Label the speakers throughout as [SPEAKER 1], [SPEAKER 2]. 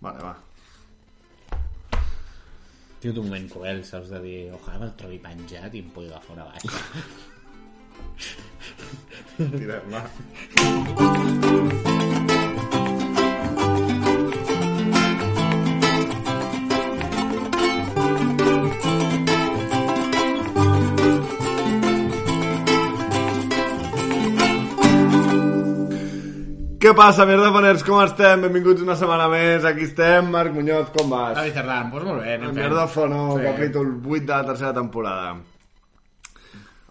[SPEAKER 1] Vale, va.
[SPEAKER 2] Tio, d'un moment cruel, saps? De dir, ojalà me'l trobi penjat i em pugui agafar una baixa.
[SPEAKER 1] Tirar-la. Què passa, merda faners? Com estem? Benvinguts una setmana més. Aquí estem. Marc Muñoz, com vas?
[SPEAKER 2] David Hernán, doncs molt
[SPEAKER 1] El
[SPEAKER 2] bé, anem fent.
[SPEAKER 1] Merda Fono,
[SPEAKER 2] Sí.
[SPEAKER 1] sí. capítol 8 de la tercera temporada.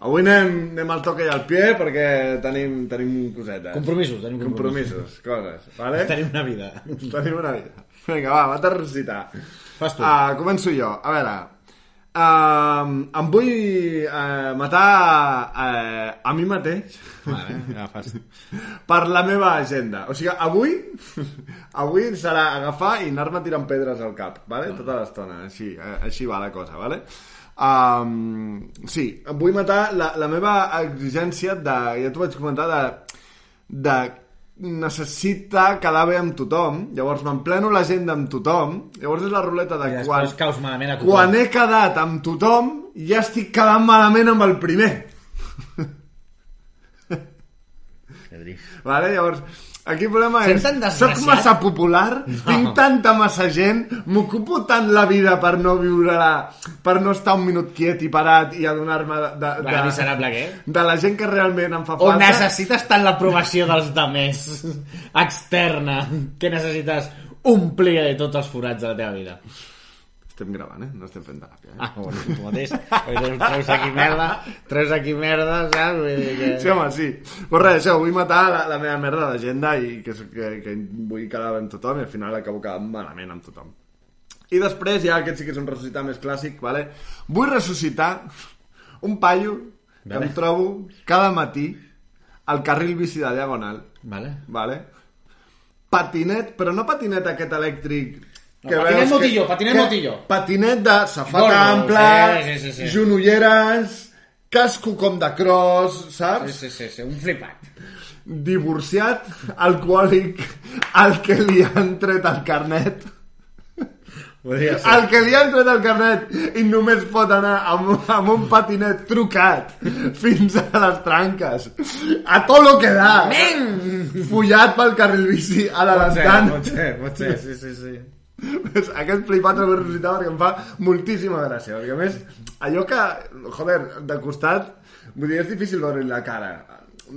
[SPEAKER 1] Avui anem, anem al toque i al pie perquè tenim, tenim cosetes.
[SPEAKER 2] Compromisos, tenim compromisos.
[SPEAKER 1] Compromisos, coses, vale?
[SPEAKER 2] Tenim una vida.
[SPEAKER 1] Tenim una vida. Vinga, va, va a recitar.
[SPEAKER 2] Fas tu.
[SPEAKER 1] Ah, començo jo. A veure... Uh, em vull uh, matar uh, a mi mateix
[SPEAKER 2] Vale, agafes.
[SPEAKER 1] per la meva agenda. O sigui, avui avui serà agafar i anar-me tirant pedres al cap, vale? tota l'estona. Així, eh, així va la cosa, vale? Um, sí, em vull matar la, la meva exigència de... Ja t'ho vaig comentar, de, de necessita quedar bé amb tothom, llavors m'empleno l'agenda amb tothom, llavors és la ruleta de
[SPEAKER 2] I
[SPEAKER 1] quan,
[SPEAKER 2] després caus malament a tothom.
[SPEAKER 1] quan he quedat amb tothom ja estic quedant malament amb el primer. Vale? Llavors, aquí el problema
[SPEAKER 2] Sent
[SPEAKER 1] és...
[SPEAKER 2] tan desgraciat.
[SPEAKER 1] Soc massa popular, tinc tanta massa gent, m'ocupo tant la vida per no viure-la, per no estar un minut quiet i parat i adonar-me de, de,
[SPEAKER 2] Va,
[SPEAKER 1] de,
[SPEAKER 2] miserable, què?
[SPEAKER 1] de la gent que realment em fa
[SPEAKER 2] O
[SPEAKER 1] falta.
[SPEAKER 2] necessites tant l'aprovació dels demés externa que necessites omplir de tots els forats de la teva vida.
[SPEAKER 1] Estem gravant, eh? No estem fent teràpia. Eh?
[SPEAKER 2] Ah, bueno, tu mateix. doncs Treus aquí merda, treus aquí merda, saps? Vull dir que...
[SPEAKER 1] Sí, home, sí. Però res, això, vull matar la, la meva merda d'agenda i que, que, que vull quedar amb tothom i al final acabo quedant malament amb tothom. I després, ja aquest sí que és un ressuscitar més clàssic, vale? vull ressuscitar un paio que
[SPEAKER 2] Vale.
[SPEAKER 1] em trobo cada matí al carril bici de Diagonal,
[SPEAKER 2] Vale.
[SPEAKER 1] vale? patinet, però no patinet aquest elèctric
[SPEAKER 2] No, patinet
[SPEAKER 1] veus
[SPEAKER 2] motillo, patinet motillo.
[SPEAKER 1] Patinet de safata
[SPEAKER 2] Gordos,
[SPEAKER 1] ampla,
[SPEAKER 2] eh? Sí, sí, sí.
[SPEAKER 1] genolleres, casco com de cross, saps?
[SPEAKER 2] Sí, sí, sí, sí, un flipat.
[SPEAKER 1] divorciat, alcohòlic, al que li han tret el carnet.
[SPEAKER 2] Podria
[SPEAKER 1] Al que li han tret el carnet i només pot anar amb, un- amb un patinet trucat fins a les tranques. A tot lo que da. Follat pel carril bici a
[SPEAKER 2] Doncs, eh,
[SPEAKER 1] l'Alaskan.
[SPEAKER 2] ser, pot ser, sí, sí, sí.
[SPEAKER 1] Pues Aquest flipat el vull recitar perquè em fa moltíssima gràcia. Perquè, a més, allò que, joder, de costat, vull dir, és difícil veure la cara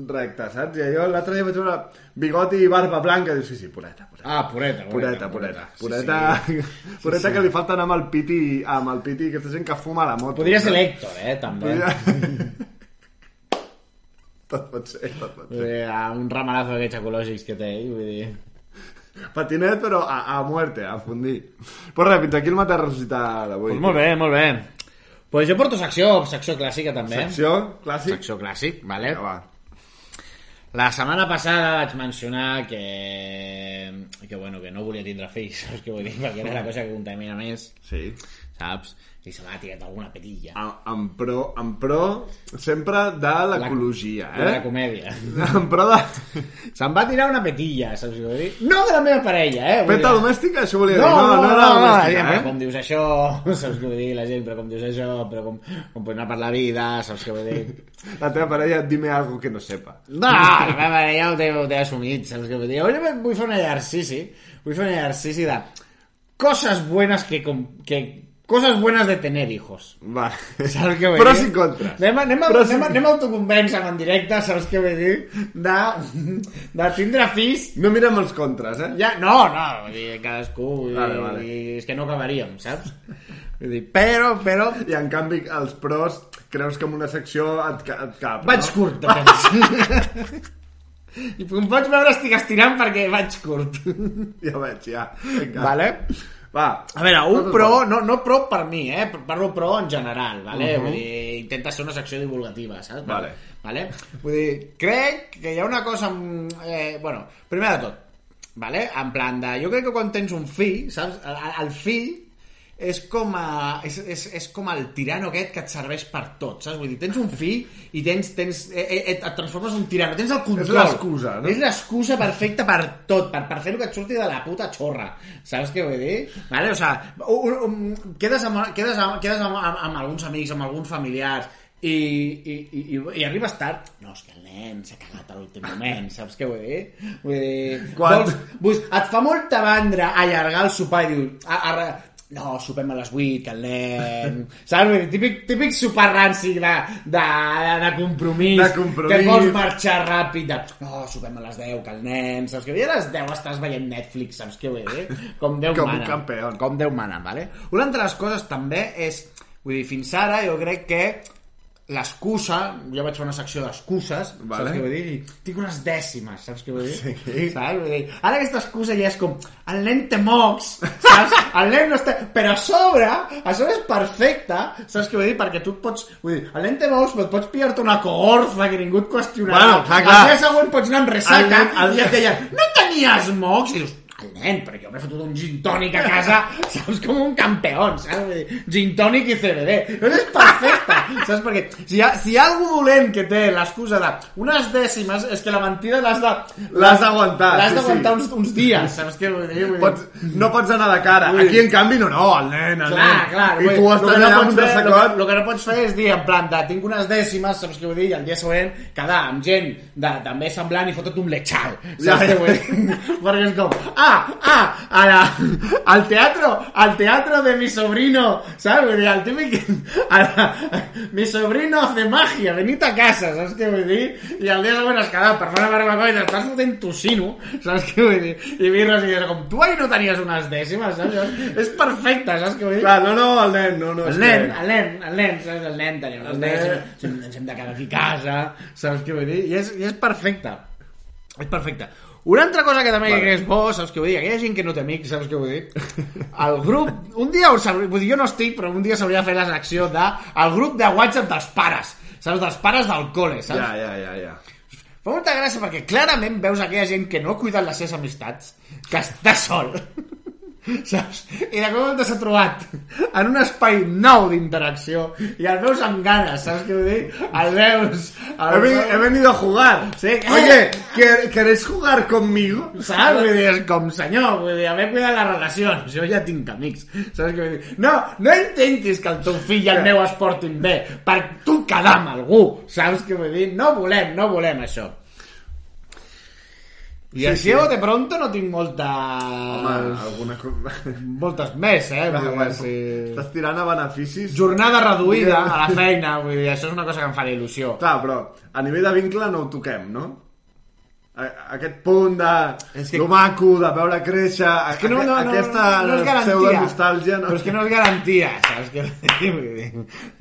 [SPEAKER 1] recta, saps? I allò l'altre dia vaig veure bigoti i barba blanca, i dius, sí, sí, pureta, pureta.
[SPEAKER 2] Ah, pureta,
[SPEAKER 1] Pureta, pureta. Pureta, pureta que li falta anar amb el piti, amb el piti, aquesta gent que fuma a la moto.
[SPEAKER 2] Podria ser eh? l'Hèctor, eh, també.
[SPEAKER 1] Tot pot ser, tot pot ser.
[SPEAKER 2] Vull dir, a un ramalazo d'aquests ecològics que té ell, vull dir...
[SPEAKER 1] Patinet, però a, a muerte, a fundir. Però res, fins aquí el matar ressuscitar d'avui.
[SPEAKER 2] molt bé, molt bé. Pues jo porto secció, secció clàssica també.
[SPEAKER 1] Secció, clàssic.
[SPEAKER 2] secció clàssic, vale?
[SPEAKER 1] Ja va.
[SPEAKER 2] La setmana passada vaig mencionar que... que, bueno, que no volia tindre fills, saps què vull dir? Perquè era la cosa que contamina més,
[SPEAKER 1] Sí.
[SPEAKER 2] saps? I se m'ha tirat alguna petilla.
[SPEAKER 1] En, en pro, en pro sempre de l'ecologia,
[SPEAKER 2] De la
[SPEAKER 1] eh?
[SPEAKER 2] comèdia.
[SPEAKER 1] En pro de...
[SPEAKER 2] Ah, Se'm va tirar una petilla, saps què vull dir? No de la meva parella, eh? Vull dir-
[SPEAKER 1] Peta domèstica, això volia
[SPEAKER 2] No,
[SPEAKER 1] dir.
[SPEAKER 2] no, no,
[SPEAKER 1] era
[SPEAKER 2] no, no, la gent,
[SPEAKER 1] domèstica, eh?
[SPEAKER 2] però com dius això, saps què vull dir? La gent, però com dius això, però com, com pots anar per la vida, saps què vull dir?
[SPEAKER 1] eh? La teva parella, dime algo que no sepa.
[SPEAKER 2] No, la meva parella ho té, ho té assumit, saps què vull dir? Avui em vull fer un exercici, vull fer un exercici de coses buenas que... Com, que coses buenas de tener hijos.
[SPEAKER 1] Va.
[SPEAKER 2] Saps què vull
[SPEAKER 1] Pros
[SPEAKER 2] dir?
[SPEAKER 1] i contres.
[SPEAKER 2] Anem, a- anem, a-
[SPEAKER 1] Pros i-
[SPEAKER 2] anem, a- anem a autoconvèncer en directe, saps què vull dir? De, de tindre fills
[SPEAKER 1] No mirem els contres, eh?
[SPEAKER 2] Ja, no, no, vull dir, cadascú, vull dir,
[SPEAKER 1] Vale, vale.
[SPEAKER 2] i és que no acabaríem, saps? Vull dir, però, però...
[SPEAKER 1] I en canvi, els pros, creus que en una secció et, ca- et cap,
[SPEAKER 2] Vaig
[SPEAKER 1] no?
[SPEAKER 2] curt, de temps. I com pots veure estic estirant perquè vaig curt.
[SPEAKER 1] Ja veig, ja. Vinga.
[SPEAKER 2] Vale.
[SPEAKER 1] Va.
[SPEAKER 2] A veure, un
[SPEAKER 1] Coses
[SPEAKER 2] pro,
[SPEAKER 1] bones.
[SPEAKER 2] no, no pro per mi, eh? Parlo pro en general, vale? Vull dir, intenta ser una secció divulgativa, saps?
[SPEAKER 1] Vale.
[SPEAKER 2] Vale? Vull dir, crec que hi ha una cosa... amb- Eh, bueno, primer de tot, vale? en plan de... Jo crec que quan tens un fill, saps? El, el fill és com, a, és, és, és com el tirano aquest que et serveix per tot, saps? Vull dir, tens un fill i tens, tens, eh, eh, et, et transformes en un tirano, tens el control.
[SPEAKER 1] l'excusa, no?
[SPEAKER 2] És l'excusa perfecta per tot, per, per fer el que et surti de la puta xorra. Saps què vull dir? Vale? O sea, un, un, quedes, amb, quedes, amb, quedes amb, amb, amb alguns amics, amb alguns familiars, i, i, i, i, i arribes tard no, és que el nen s'ha cagat a l'últim moment saps què vull dir? Vull dir
[SPEAKER 1] Quan-
[SPEAKER 2] vols, vols, et fa molta bandra allargar el sopar i dius a, a, no, sopem a les 8, que el nen... Saps? Vull dir, Típic, típic sopar ranci de, de, de compromís,
[SPEAKER 1] De compromís.
[SPEAKER 2] que vols marxar ràpid. De, no, sopem a les 10, que el nen... Saps què? vull dir? I a les 10 estàs veient Netflix, saps què vull dir? Com Déu
[SPEAKER 1] Com un
[SPEAKER 2] mana.
[SPEAKER 1] campeón.
[SPEAKER 2] Com Déu mana, vale? Una altra de les coses també és... Vull dir, fins ara jo crec que l'excusa, jo vaig fer una secció d'excuses,
[SPEAKER 1] Vale.
[SPEAKER 2] saps què vull dir? I tinc unes dècimes, saps què vull dir?
[SPEAKER 1] Sí.
[SPEAKER 2] Saps? Vull dir, ara aquesta excusa ja és com, el nen té mocs, saps? El nen no està... Però a sobre, a sobre és perfecte, saps què vull dir? Perquè tu et pots... Vull dir, el nen té mocs, però et pots pillar-te una coorza que ningú et qüestionarà.
[SPEAKER 1] Bueno, clar, clar.
[SPEAKER 2] El dia següent pots anar amb
[SPEAKER 1] El
[SPEAKER 2] ressaca
[SPEAKER 1] nen- el-
[SPEAKER 2] i et deien, no tenies mocs? I dius, el nen, però jo m'he fotut un gin tònic a casa, saps, com un campeón, saps? Vull dir, gin tònic i CBD. Doncs és perfecte, saps? Perquè si hi ha, si hi ha algú dolent que té l'excusa de unes dècimes, és que la mentida l'has de...
[SPEAKER 1] L'has d'aguantar,
[SPEAKER 2] L'has
[SPEAKER 1] Ah, sí,
[SPEAKER 2] d'aguantar
[SPEAKER 1] sí.
[SPEAKER 2] uns, uns dies, saps què vull dir? Vull dir
[SPEAKER 1] Pots, no pots anar de cara.
[SPEAKER 2] Mm. Ui.
[SPEAKER 1] Aquí, en canvi, no, no, el nen, el
[SPEAKER 2] Clar,
[SPEAKER 1] nen.
[SPEAKER 2] clar.
[SPEAKER 1] I
[SPEAKER 2] vull dir,
[SPEAKER 1] tu
[SPEAKER 2] lo
[SPEAKER 1] estàs
[SPEAKER 2] que
[SPEAKER 1] allà
[SPEAKER 2] no
[SPEAKER 1] amb un
[SPEAKER 2] pots fer, lo,
[SPEAKER 1] ressacot.
[SPEAKER 2] que- lo que no pots fer és dir, en plan, de, tinc unes dècimes, saps què vull dir? I el dia següent quedar amb gent de, també semblant i fotre't un lechal. Saps
[SPEAKER 1] Ja,
[SPEAKER 2] ja, què
[SPEAKER 1] ja.
[SPEAKER 2] vull dir? Perquè és com, ah, ah, a la, al teatro, al teatro de mi sobrino, saps? Vull dir, el típic... A la, mi sobrino hace magia, venit a casa, saps què vull dir? I el dia següent has quedat per fer una barbacoa i t'estàs fotent tocino, saps què vull dir? I birres i és com, tu ahir no tenies unes dècimes, saps? És perfecte, saps què vull dir?
[SPEAKER 1] Clar, no, no, el nen, no, no. és
[SPEAKER 2] El nen,
[SPEAKER 1] que-
[SPEAKER 2] el nen, el nen, saps? El nen tenia unes
[SPEAKER 1] El nen.
[SPEAKER 2] dècimes, ens hem de quedar aquí a casa, saps què vull dir? I és, i és perfecte, és perfecte. Una altra cosa que també
[SPEAKER 1] Vale.
[SPEAKER 2] és bo, saps què vull dir? Aquella gent que no té amics, saps què vull dir? El grup... Un dia, us hauria- vull dir, jo no estic, però un dia s'hauria de fer la secció de... El grup de WhatsApp dels pares, saps? Dels pares del col·le, saps?
[SPEAKER 1] Ja, ja, ja, ja.
[SPEAKER 2] Fa molta gràcia perquè clarament veus aquella gent que no ha cuidat les seves amistats, que està sol. Saps? I de cop t'has trobat en un espai nou d'interacció i el veus amb ganes, saps què vull dir? El veus... El
[SPEAKER 1] He, veni- he venido a jugar.
[SPEAKER 2] Sí.
[SPEAKER 1] Oye, ¿quer- ¿queréis jugar conmigo?
[SPEAKER 2] Saps? Vull dir, és com, senyor, vull dir, haver cuidat les relacions, jo ja tinc amics, saps què vull dir? No, no intentis que el teu fill i el meu es portin bé per tu quedar amb algú, saps què vull dir? No volem, no volem això.
[SPEAKER 1] Sí,
[SPEAKER 2] I sí,
[SPEAKER 1] sí.
[SPEAKER 2] així, sí. de pronto, no tinc molta...
[SPEAKER 1] Home, alguna cosa...
[SPEAKER 2] moltes més, eh? Vull dir, sí.
[SPEAKER 1] Estàs tirant a beneficis...
[SPEAKER 2] Jornada reduïda a la feina, vull dir, això és una cosa que em fa il·lusió.
[SPEAKER 1] Clar, però a nivell de vincle no ho toquem, no? A- Aquest punt de...
[SPEAKER 2] És
[SPEAKER 1] És
[SPEAKER 2] que-
[SPEAKER 1] que... Lo maco, de veure créixer... a-
[SPEAKER 2] que no, no, no,
[SPEAKER 1] aquesta
[SPEAKER 2] no és garantia.
[SPEAKER 1] pseudo-nostàlgia...
[SPEAKER 2] Però és que no és garantia, saps? Que, vull dir,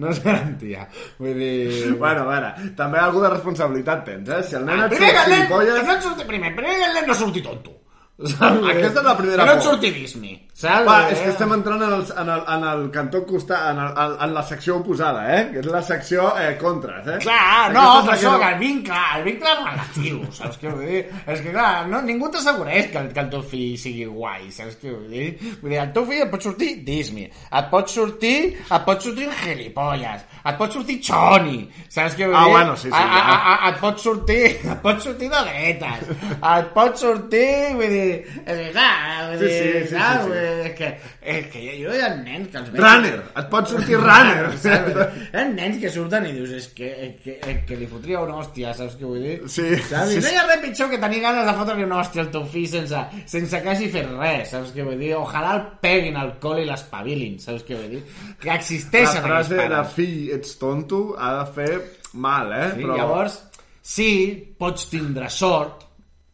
[SPEAKER 2] no és garantia. Vull dir...
[SPEAKER 1] Bueno, a veure, també algú de responsabilitat tens, eh? Si el nen
[SPEAKER 2] Ah,
[SPEAKER 1] et surt
[SPEAKER 2] primer que el nen, que
[SPEAKER 1] gilipolles...
[SPEAKER 2] no et surti, primer, primer que el nen no surti tonto.
[SPEAKER 1] Aquesta és la primera
[SPEAKER 2] Que no et
[SPEAKER 1] por.
[SPEAKER 2] surti Disney, saps?
[SPEAKER 1] Va,
[SPEAKER 2] Eh?
[SPEAKER 1] és que este estem entrant en el, en el, en el cantó costat, en, el, en, en la secció oposada, eh? Que és la secció eh, contres, eh?
[SPEAKER 2] Clar, Ah, no,
[SPEAKER 1] Aquesta és
[SPEAKER 2] però
[SPEAKER 1] la que
[SPEAKER 2] això, que el vincle, el vincle és relatiu, saps què vull dir? És que, clar, no, ningú t'assegureix que, el- que el teu fill sigui guai, saps què vull dir? Vull dir, el teu fill et pot sortir Disney, et pot sortir, et pot sortir un gilipolles, et pot sortir Choni, saps què vull
[SPEAKER 1] Ah,
[SPEAKER 2] dir?
[SPEAKER 1] bueno, sí, sí,
[SPEAKER 2] A, a,
[SPEAKER 1] ja.
[SPEAKER 2] a, a, et pot sortir, et pot sortir de dretes, et pot sortir, vull dir, és que, clar, vull
[SPEAKER 1] Sí,
[SPEAKER 2] dir,
[SPEAKER 1] sí, sí, sí,
[SPEAKER 2] saps?
[SPEAKER 1] sí.
[SPEAKER 2] Vull dir, és que, és que jo, jo hi ha nens que els veig...
[SPEAKER 1] Runner, et pot sortir runner.
[SPEAKER 2] Saps? Hi ha nens que surten i dius, és que, és que, és que li fotria una hòstia, saps què vull dir?
[SPEAKER 1] Sí,
[SPEAKER 2] Saps?
[SPEAKER 1] sí,
[SPEAKER 2] I no
[SPEAKER 1] sí.
[SPEAKER 2] hi ha res pitjor que tenir ganes de fotre-li una hòstia al teu fill sense, sense que hagi fet res, saps què vull dir? Ojalà el peguin al col i l'espavilin, saps què vull dir? Que
[SPEAKER 1] La
[SPEAKER 2] existeixen aquests
[SPEAKER 1] frase de
[SPEAKER 2] pares.
[SPEAKER 1] fill, ets tonto, ha de fer mal, eh?
[SPEAKER 2] Sí, Llavors, sí, pots tindre sort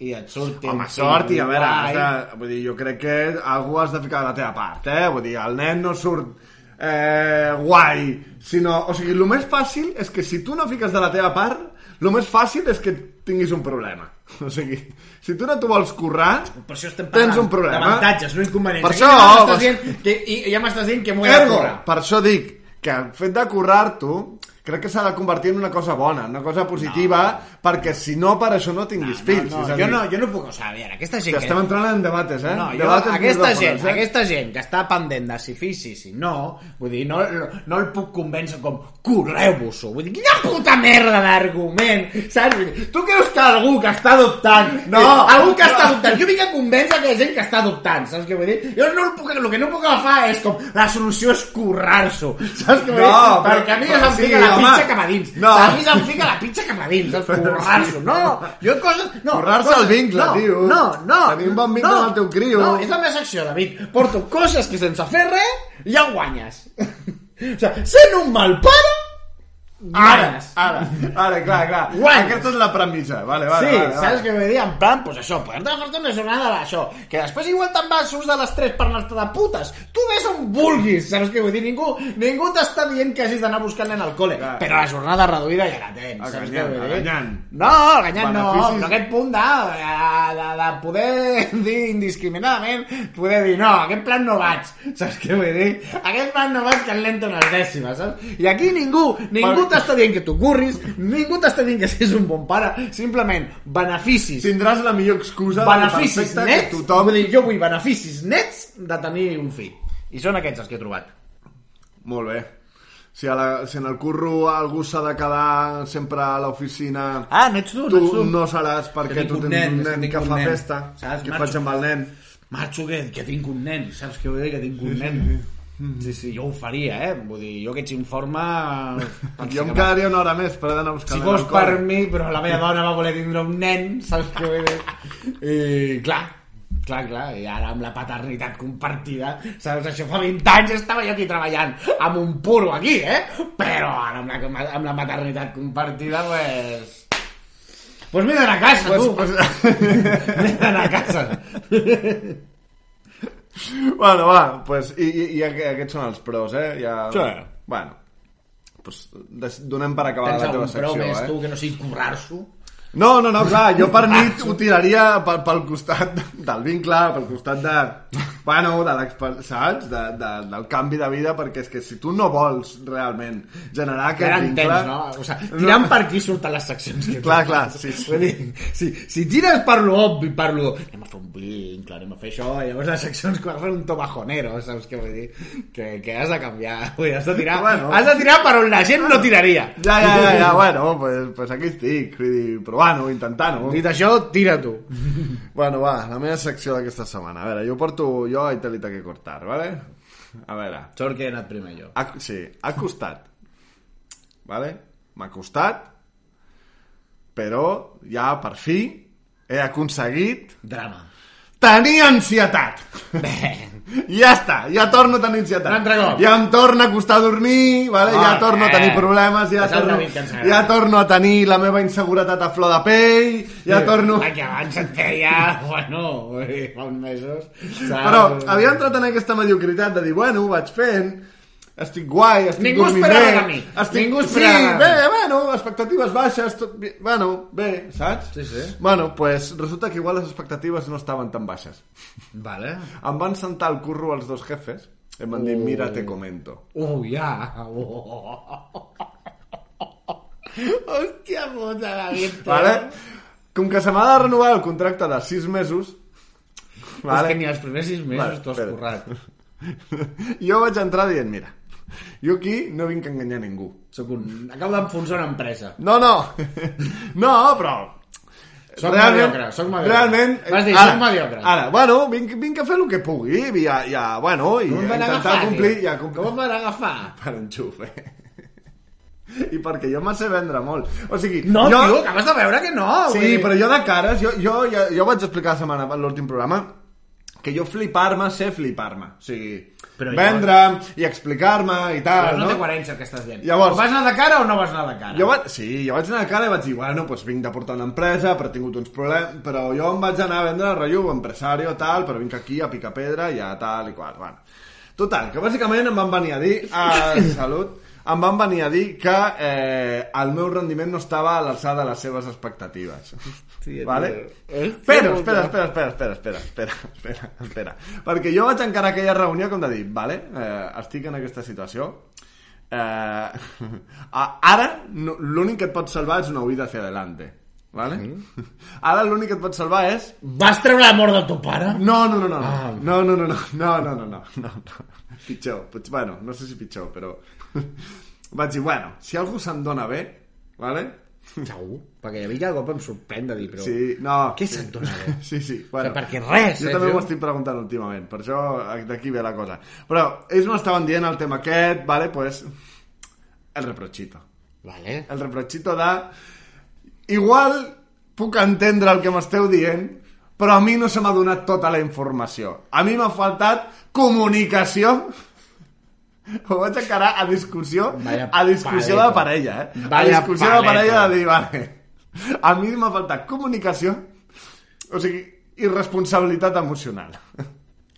[SPEAKER 2] i et surti...
[SPEAKER 1] Home,
[SPEAKER 2] un fill
[SPEAKER 1] sort, i a veure,
[SPEAKER 2] guai.
[SPEAKER 1] has de, vull dir, jo crec que algú has de ficar de la teva part, eh? Vull dir, el nen no surt eh, guai, sinó... O sigui, el més fàcil és que si tu no fiques de la teva part, el més fàcil és que tinguis un problema. O sigui, si tu no t'ho vols currar,
[SPEAKER 2] Per això estem
[SPEAKER 1] Tens
[SPEAKER 2] parlant
[SPEAKER 1] un problema.
[SPEAKER 2] d'avantatges, no inconvenients.
[SPEAKER 1] Per
[SPEAKER 2] Aquí
[SPEAKER 1] això,
[SPEAKER 2] ja m'estàs
[SPEAKER 1] vas-
[SPEAKER 2] dient que, i, ja m'estàs dient que m'ho he de
[SPEAKER 1] ergo,
[SPEAKER 2] cobrar.
[SPEAKER 1] per això dic que el fet de currar-t'ho crec que s'ha de convertir en una cosa bona, en una cosa positiva, perquè si no, per això no tinguis fills.
[SPEAKER 2] No,
[SPEAKER 1] és
[SPEAKER 2] no,
[SPEAKER 1] a
[SPEAKER 2] jo,
[SPEAKER 1] dir,
[SPEAKER 2] no, jo no puc, o sigui, a veure, aquesta gent...
[SPEAKER 1] Que estem entrant en debates, eh?
[SPEAKER 2] No, jo,
[SPEAKER 1] debates
[SPEAKER 2] aquesta,
[SPEAKER 1] molt
[SPEAKER 2] gent,
[SPEAKER 1] profunds, eh?
[SPEAKER 2] aquesta gent que està pendent de si fills i si no, vull dir, no, no el puc convèncer com curreu-vos-ho. Vull dir, quina puta merda d'argument, saps? Vull dir, tu creus que algú que està adoptant...
[SPEAKER 1] No,
[SPEAKER 2] algú que
[SPEAKER 1] no.
[SPEAKER 2] està adoptant... Jo vinc a convèncer aquella gent que està adoptant, saps què vull dir? Jo no el puc, el que no puc agafar és com la solució és currar-s'ho, saps què vull dir?
[SPEAKER 1] No, però-
[SPEAKER 2] Perquè a mi ja
[SPEAKER 1] però
[SPEAKER 2] se'm
[SPEAKER 1] sí,
[SPEAKER 2] fica la
[SPEAKER 1] home.
[SPEAKER 2] pizza cap a dins.
[SPEAKER 1] No.
[SPEAKER 2] A mi se'm fica la pizza cap a dins, saps? Currar-s'ho. No, jo coses... No,
[SPEAKER 1] Currar-se
[SPEAKER 2] coses-
[SPEAKER 1] el vincle,
[SPEAKER 2] no,
[SPEAKER 1] tio.
[SPEAKER 2] No, no.
[SPEAKER 1] Tenir un bon vincle amb el teu crio.
[SPEAKER 2] No, és la meva secció, David. Porto coses que sense fer res ja guanyes. o sigui, sent un mal pare,
[SPEAKER 1] Ara,
[SPEAKER 2] guanyes.
[SPEAKER 1] ara, ara, clar, clar.
[SPEAKER 2] Guanyes.
[SPEAKER 1] Aquesta és la premissa. Vale, vale,
[SPEAKER 2] sí,
[SPEAKER 1] vale, vale.
[SPEAKER 2] saps què vull dir? En plan, pues això, poder-te fer una jornada d'això, que després igual te'n vas surts de les 3 per anar-te de putes. Tu ves on vulguis, saps què vull dir? Ningú, ningú t'està dient que hagis d'anar buscant en al col·le,
[SPEAKER 1] Clar.
[SPEAKER 2] però la jornada reduïda ja la tens,
[SPEAKER 1] El
[SPEAKER 2] saps què
[SPEAKER 1] ganyant,
[SPEAKER 2] vull
[SPEAKER 1] el
[SPEAKER 2] dir?
[SPEAKER 1] ganyant.
[SPEAKER 2] No, el ganyant no,
[SPEAKER 1] Beneficis-
[SPEAKER 2] però aquest punt de, de, de, de poder dir indiscriminadament, poder dir, no, aquest plan no vaig, saps què vull dir? Aquest plan no vaig que el lento les dècimes, saps? I aquí ningú, ningú
[SPEAKER 1] Perquè-
[SPEAKER 2] t'està dient que tu curris, ningú t'està dient que siguis un bon pare, simplement beneficis,
[SPEAKER 1] Tindràs la millor excusa del
[SPEAKER 2] beneficis
[SPEAKER 1] perfecte
[SPEAKER 2] nets,
[SPEAKER 1] que
[SPEAKER 2] tothom...
[SPEAKER 1] tothom...
[SPEAKER 2] vull dir, jo vull beneficis nets de tenir un fill. I són aquests els que he trobat.
[SPEAKER 1] Molt bé. Si, a la, si en el curro algú s'ha de quedar sempre a l'oficina...
[SPEAKER 2] Ah, no ets tu, no ets
[SPEAKER 1] tu
[SPEAKER 2] tu.
[SPEAKER 1] no seràs perquè
[SPEAKER 2] Que tinc
[SPEAKER 1] tu
[SPEAKER 2] un
[SPEAKER 1] tens un
[SPEAKER 2] nen, és que
[SPEAKER 1] nen
[SPEAKER 2] tinc
[SPEAKER 1] que
[SPEAKER 2] un
[SPEAKER 1] fa
[SPEAKER 2] nen.
[SPEAKER 1] festa.
[SPEAKER 2] Saps,
[SPEAKER 1] Què
[SPEAKER 2] macho?
[SPEAKER 1] faig amb el nen?
[SPEAKER 2] Marxo que, que tinc un nen, saps què vull dir? Que tinc un nen.
[SPEAKER 1] Mm.
[SPEAKER 2] Sí, sí, jo ho faria, eh? Vull dir, jo que ets informe...
[SPEAKER 1] Jo em quedaria una hora més per anar a buscar
[SPEAKER 2] Doncs Si
[SPEAKER 1] el
[SPEAKER 2] fos
[SPEAKER 1] nen al col·le.
[SPEAKER 2] per mi, però la meva dona va voler tindre un nen, saps què vull dir? I clar, clar, clar, i ara amb la paternitat compartida, saps, això fa 20 anys estava jo aquí treballant amb un puro aquí, eh? Però ara amb la, amb la maternitat compartida, pues... Pues m'he d'anar a casa,
[SPEAKER 1] Pues-
[SPEAKER 2] tu.
[SPEAKER 1] pues-
[SPEAKER 2] M'he d'anar a casa.
[SPEAKER 1] Bueno, va, pues, i, i, i aqu- aquests són els pros, eh? Ja...
[SPEAKER 2] Sí.
[SPEAKER 1] Bueno, pues, des- donem per acabar
[SPEAKER 2] Tens
[SPEAKER 1] la teva
[SPEAKER 2] algun
[SPEAKER 1] secció,
[SPEAKER 2] pro més,
[SPEAKER 1] eh?
[SPEAKER 2] tu, que no sigui currar-s'ho?
[SPEAKER 1] No, no, no, clar, jo per mi ho tiraria pel, pel costat del vincle, pel costat de... Bueno, de l'exper- saps? De, de, del canvi de vida, perquè és que si tu no vols realment generar
[SPEAKER 2] Que
[SPEAKER 1] aquest
[SPEAKER 2] ara
[SPEAKER 1] vincle...
[SPEAKER 2] entens, no? O sigui, tirant per aquí surten les seccions que
[SPEAKER 1] Clar,
[SPEAKER 2] tens.
[SPEAKER 1] clar, sí, sí.
[SPEAKER 2] Vull dir, si, si tires per lo obvi, per lo... Anem a fer un vincle, anem a fer això, i llavors les seccions que vas fer un tobajonero, saps què vull dir? Que, que has de canviar, vull dir, has de tirar,
[SPEAKER 1] Bueno.
[SPEAKER 2] has de tirar per on la gent no tiraria.
[SPEAKER 1] Ja, ja, ja, ja, bueno, pues, pues aquí estic, vull dir, provant-ho, intentant-ho.
[SPEAKER 2] Dit això, tira tu.
[SPEAKER 1] Bueno, va, la meva secció d'aquesta setmana. A veure, jo porto jo i te li que cortar, vale? A veure,
[SPEAKER 2] Sort que he anat primer jo.
[SPEAKER 1] ha, sí, ha costat. Vale? M'ha costat, però ja per fi he aconseguit
[SPEAKER 2] Drama.
[SPEAKER 1] tenir ansietat.
[SPEAKER 2] Bé.
[SPEAKER 1] Ja està, ja torno a tenir ansietat.
[SPEAKER 2] Un altre cop.
[SPEAKER 1] Ja em torna a costar dormir, vale? ja
[SPEAKER 2] Molt
[SPEAKER 1] torno a
[SPEAKER 2] bé.
[SPEAKER 1] tenir problemes, ja
[SPEAKER 2] És el
[SPEAKER 1] torno,
[SPEAKER 2] David que ens agrada.
[SPEAKER 1] ja torno a tenir la meva inseguretat a flor de pell, ja torno...
[SPEAKER 2] Ai, que abans et feia, bueno, vull dir, fa uns mesos. Saps?
[SPEAKER 1] Però havia entrat en aquesta mediocritat de dir, bueno, ho vaig fent, estic guai, estic
[SPEAKER 2] Ningú
[SPEAKER 1] dormint
[SPEAKER 2] esperava
[SPEAKER 1] bé,
[SPEAKER 2] de mi.
[SPEAKER 1] Estic...
[SPEAKER 2] Ningú
[SPEAKER 1] sí,
[SPEAKER 2] esperava de
[SPEAKER 1] bé,
[SPEAKER 2] mi.
[SPEAKER 1] bueno, expectatives baixes, tot... bé, bueno, bé, saps?
[SPEAKER 2] Sí, sí.
[SPEAKER 1] Bueno, pues resulta que igual les expectatives no estaven tan baixes.
[SPEAKER 2] Vale.
[SPEAKER 1] Em van sentar al curro els dos jefes i em van dir, mira, te comento.
[SPEAKER 2] Oh, ja. Oh. Hòstia puta, David.
[SPEAKER 1] Vale? Com que se m'ha de renovar el contracte de 6 mesos,
[SPEAKER 2] Vale. És
[SPEAKER 1] vale?
[SPEAKER 2] que ni els primers sis mesos
[SPEAKER 1] Vale,
[SPEAKER 2] vale, t'ho has
[SPEAKER 1] espera.
[SPEAKER 2] currat.
[SPEAKER 1] jo vaig entrar dient, mira, jo aquí no vinc a enganyar ningú.
[SPEAKER 2] Soc un... Acabo d'enfonsar una empresa.
[SPEAKER 1] No, no. No, però...
[SPEAKER 2] Soc mediocre, soc mediocre.
[SPEAKER 1] Realment...
[SPEAKER 2] Vas dir,
[SPEAKER 1] ara,
[SPEAKER 2] soc mediocre.
[SPEAKER 1] Ara, bueno, vinc, vinc a fer el que pugui i ja, ja bueno, i
[SPEAKER 2] Com em van
[SPEAKER 1] intentar
[SPEAKER 2] agafar,
[SPEAKER 1] complir...
[SPEAKER 2] tio?
[SPEAKER 1] Ja, complir
[SPEAKER 2] Com em van agafar?
[SPEAKER 1] Per enxuf, eh? I perquè jo me'n sé vendre molt. O sigui,
[SPEAKER 2] No,
[SPEAKER 1] jo...
[SPEAKER 2] jo... tio, acabes de veure que no. vull
[SPEAKER 1] Sí,
[SPEAKER 2] dir.
[SPEAKER 1] però jo de cares, jo, jo, jo, jo vaig explicar la setmana en l'últim programa que jo flipar-me sé flipar-me. O sigui,
[SPEAKER 2] Però jo-
[SPEAKER 1] vendre'm i explicar-me i
[SPEAKER 2] Però
[SPEAKER 1] tal,
[SPEAKER 2] no,
[SPEAKER 1] no?
[SPEAKER 2] té coherència el que estàs dient.
[SPEAKER 1] Llavors-
[SPEAKER 2] O vas anar de cara o no vas anar de cara?
[SPEAKER 1] Jo va... Sí, jo vaig anar a cara i vaig dir, bueno, doncs vinc de portar una empresa, però he tingut uns problemes, però jo em vaig anar a vendre el rotllo, empresario, tal, però vinc aquí a picar pedra i a tal i qual, bueno. Total, que bàsicament em van venir a dir, a salut, em van venir a dir que eh, el meu rendiment no estava a l'alçada de les seves expectatives.
[SPEAKER 2] Hòstia,
[SPEAKER 1] vale?
[SPEAKER 2] tio. Hòstia,
[SPEAKER 1] Però,
[SPEAKER 2] puta.
[SPEAKER 1] espera, espera, espera, espera, espera, espera, espera, espera. Perquè jo vaig encarar aquella reunió com de dir, vale, eh, estic en aquesta situació, Eh, ara no- l'únic que et pot salvar és una huida hacia adelante. Vale? Ara l'únic que et pot salvar és
[SPEAKER 2] Vas treure la mort del teu pare?
[SPEAKER 1] no, no, no, no.
[SPEAKER 2] Ah.
[SPEAKER 1] No, no, no, no. No, no, no, no. no, no. Pitjor. Potser, bueno, no sé si pitjor, però... Vaig dir, bueno, si algú se'n dona bé, vale?
[SPEAKER 2] Segur. Perquè a mi cada cop em sorprèn de dir, però...
[SPEAKER 1] Sí, no.
[SPEAKER 2] Què se'n dona eh? bé?
[SPEAKER 1] Sí, sí. Bueno,
[SPEAKER 2] perquè res,
[SPEAKER 1] Jo
[SPEAKER 2] eh,
[SPEAKER 1] també
[SPEAKER 2] tio?
[SPEAKER 1] ho estic preguntant últimament, per això d'aquí ve la cosa. Però ells no estaven dient el tema aquest, vale, pues... El reprochito.
[SPEAKER 2] Vale.
[SPEAKER 1] El reprochito de... Igual puc entendre el que m'esteu dient, però a mi no se m'ha donat tota la informació. A mi m'ha faltat comunicació. Ho vaig encarar a discussió,
[SPEAKER 2] Vaya
[SPEAKER 1] a discussió
[SPEAKER 2] paleta.
[SPEAKER 1] de parella, eh?
[SPEAKER 2] Vaya
[SPEAKER 1] a discussió de
[SPEAKER 2] paleta.
[SPEAKER 1] parella de dir, vale, a mi m'ha faltat comunicació, o sigui, irresponsabilitat emocional.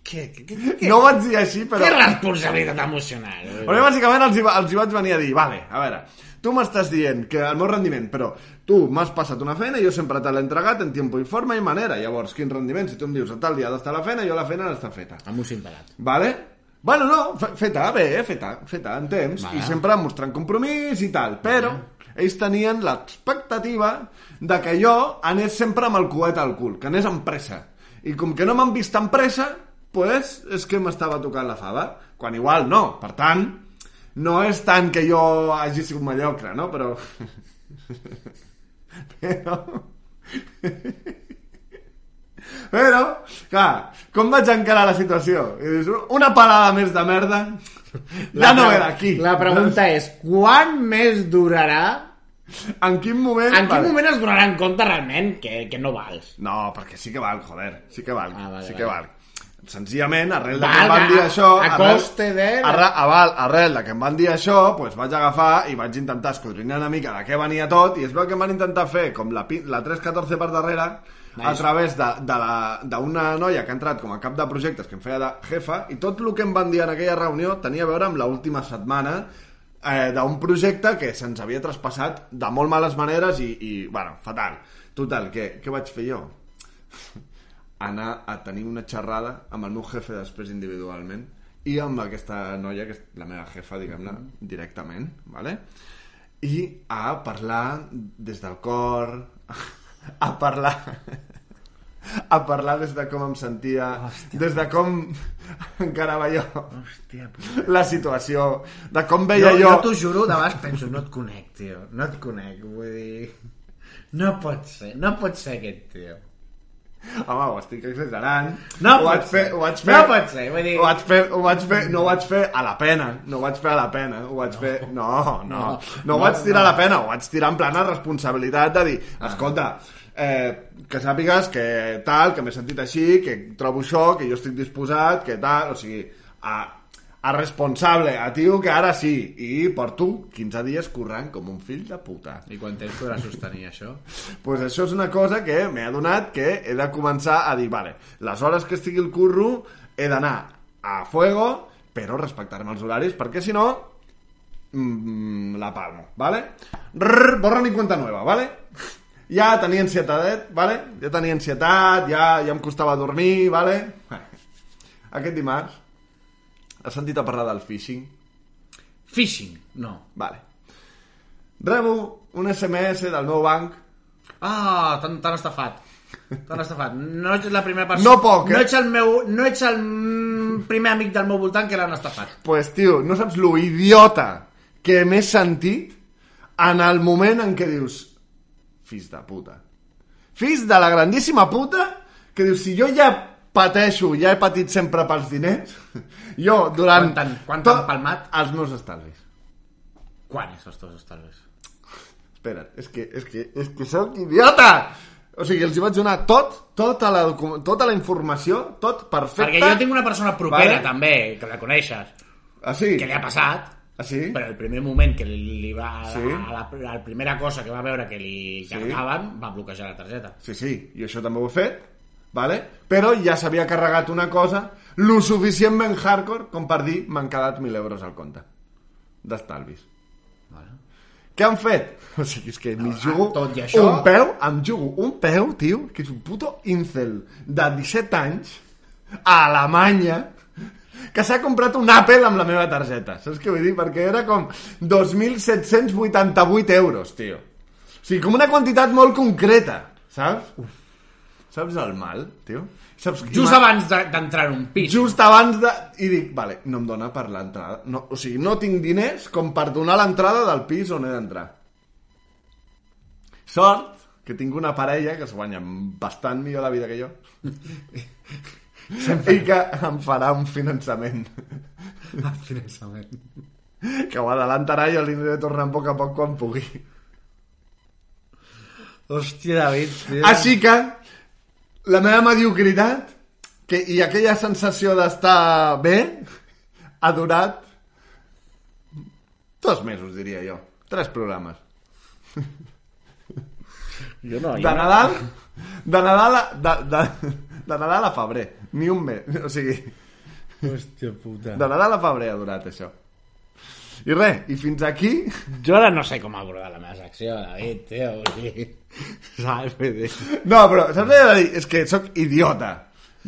[SPEAKER 2] Què, què, què, què?
[SPEAKER 1] No ho vaig dir així, però...
[SPEAKER 2] Què responsabilitat emocional?
[SPEAKER 1] Però bàsicament els, hi va- els hi vaig venir a dir, vale, a veure, tu m'estàs dient que el meu rendiment, però tu m'has passat una feina, jo sempre te l'he entregat en tiempo i forma i manera, llavors, quin rendiment? Si tu em dius a tal dia ha d'estar la feina, jo la feina l'està feta.
[SPEAKER 2] Amb un simpelat.
[SPEAKER 1] Vale? Bueno, no, fe- feta, bé, eh, feta, feta, en temps,
[SPEAKER 2] Vale.
[SPEAKER 1] i sempre mostrant compromís i tal, però ells tenien l'expectativa de que jo anés sempre amb el coet al cul, que anés amb pressa. I com que no m'han vist amb pressa, pues, és que m'estava tocant la fava, quan igual no. Per tant, no és tant que jo hagi sigut mediocre, no? Però... però... Però, clar, com vaig encarar la situació? I dius, una palada més de merda, ja no
[SPEAKER 2] pre-
[SPEAKER 1] era aquí.
[SPEAKER 2] La pregunta és, quan més durarà?
[SPEAKER 1] En quin moment...
[SPEAKER 2] En quin
[SPEAKER 1] Vale.
[SPEAKER 2] moment es donarà en compte realment que, que no vals?
[SPEAKER 1] No, perquè sí que val, joder, sí que val,
[SPEAKER 2] Ah, vale,
[SPEAKER 1] sí que
[SPEAKER 2] vale.
[SPEAKER 1] val. Senzillament, arrel de
[SPEAKER 2] Val,
[SPEAKER 1] que em van dir
[SPEAKER 2] a-
[SPEAKER 1] això...
[SPEAKER 2] a
[SPEAKER 1] arrel-
[SPEAKER 2] coste de-
[SPEAKER 1] Arra, aval, arrel de que em van dir això, pues vaig agafar i vaig intentar escudrinyar una mica de què venia tot i es veu que em van intentar fer com la, pi- la 314 per darrere a través de- de la- d'una noia que ha entrat com a cap de projectes que em feia de jefa i tot el que em van dir en aquella reunió tenia a veure amb l'última setmana eh, d'un projecte que se'ns havia traspassat de molt males maneres i, i bueno, fatal. Total, què, què vaig fer jo? anar a tenir una xerrada amb el meu jefe després individualment i amb aquesta noia, que és la meva jefa, diguem-ne, directament, ¿vale? i a parlar des del cor, a parlar... a parlar des de com em sentia, Hòstia, des de com encarava jo
[SPEAKER 2] Hòstia,
[SPEAKER 1] la situació, de com veia
[SPEAKER 2] jo,
[SPEAKER 1] jo...
[SPEAKER 2] jo t'ho juro, de vegades penso, no et conec, tio, no et conec, vull dir... No pot ser, no pot ser aquest tio.
[SPEAKER 1] Home, ho estic exagerant.
[SPEAKER 2] No
[SPEAKER 1] ho vaig
[SPEAKER 2] pot
[SPEAKER 1] fer,
[SPEAKER 2] ser.
[SPEAKER 1] ho vaig fer.
[SPEAKER 2] No pot ser, vull dir-
[SPEAKER 1] Ho vaig fer, ho vaig fer, no ho vaig fer a la pena. No ho vaig fer a la pena. Ho vaig no. fer... No, no. No,
[SPEAKER 2] No,
[SPEAKER 1] no ho
[SPEAKER 2] no,
[SPEAKER 1] vaig tirar
[SPEAKER 2] no.
[SPEAKER 1] a la pena. Ho vaig tirar en plena responsabilitat de dir, escolta, eh, que sàpigues que tal, que m'he sentit així, que trobo això, que jo estic disposat, que tal... O sigui, a, a responsable, a tio que ara sí. I porto 15 dies currant com un fill de puta.
[SPEAKER 2] I quan temps podrà sostenir això?
[SPEAKER 1] pues això és una cosa que m'he adonat que he de començar a dir, vale, les hores que estigui el curro he d'anar a fuego, però respectar-me els horaris, perquè si no, mm, la palmo, ¿vale? Rrr, borra ni cuenta nueva, ¿vale? Ja tenia ansietat, ¿vale? Ja tenia ansietat, ja, ja em costava dormir, ¿vale? Aquest dimarts has sentit a parlar del phishing?
[SPEAKER 2] Phishing, no.
[SPEAKER 1] Vale. Rebo un SMS del meu banc
[SPEAKER 2] Ah, t'han t'han estafat. T'han estafat. No ets la primera persona...
[SPEAKER 1] No poc, eh?
[SPEAKER 2] No ets el, meu, no ets el mm, primer amic del meu voltant que l'han estafat.
[SPEAKER 1] pues, tio, no saps lo idiota que m'he sentit en el moment en què dius fills de puta. Fills de la grandíssima puta que dius, si jo ja pateixo, ja he patit sempre pels diners, jo durant...
[SPEAKER 2] Quan t'han- quan
[SPEAKER 1] tot-
[SPEAKER 2] t'han palmat?
[SPEAKER 1] Els meus estalvis.
[SPEAKER 2] Quan és els teus estalvis?
[SPEAKER 1] Espera't, és que, és que, és que sóc idiota! O sigui, els hi vaig donar tot, tota la, docu- tota la informació, tot perfecte.
[SPEAKER 2] Perquè jo tinc una persona propera,
[SPEAKER 1] Vale.
[SPEAKER 2] també, que la coneixes,
[SPEAKER 1] Ah, sí?
[SPEAKER 2] que li ha passat,
[SPEAKER 1] Ah, sí?
[SPEAKER 2] però el primer moment que li va...
[SPEAKER 1] Sí.
[SPEAKER 2] A la, a la primera cosa que va veure que li cargaven, va bloquejar la targeta.
[SPEAKER 1] Sí, sí, i això també ho he fet, vale? però ja s'havia carregat una cosa lo suficientment hardcore com per dir m'han quedat 1.000 euros al compte d'estalvis.
[SPEAKER 2] Vale.
[SPEAKER 1] Què han fet? O sigui, és que m'hi jugo
[SPEAKER 2] Ah, tot i això-
[SPEAKER 1] un peu, em jugo un peu, tio, que és un puto incel de 17 anys, a Alemanya, que s'ha comprat un Apple amb la meva targeta. Saps què vull dir? Perquè era com 2.788 euros, tio. O sigui, com una quantitat molt concreta, saps? Saps el mal, tio? Saps
[SPEAKER 2] Just abans de- d'entrar en un pis.
[SPEAKER 1] just abans de... I dic, vale, no em dona per l'entrada. No, o sigui, no tinc diners com per donar l'entrada del pis on he d'entrar. Sort que tinc una parella que es guanya bastant millor la vida que jo i que em farà un finançament
[SPEAKER 2] Al finançament.
[SPEAKER 1] que ho adelantarà i el dinero tornar a poc a poc quan pugui.
[SPEAKER 2] Hòstia, David, tio.
[SPEAKER 1] Així Ah, que la meva mediocritat que, i aquella sensació d'estar bé ha durat dos mesos, diria jo. Tres programes.
[SPEAKER 2] Jo no,
[SPEAKER 1] De Nadal, de Nadal a, de, de, de Nadal a febrer. Ni un mes. O sigui,
[SPEAKER 2] Hòstia puta.
[SPEAKER 1] de Nadal a febrer ha durat això. I res, i fins aquí...
[SPEAKER 2] Jo ara no sé com abordar la meva secció, David, tio. O sigui, saps? Vull dir...
[SPEAKER 1] No, però saps què he de dir? És que sóc idiota.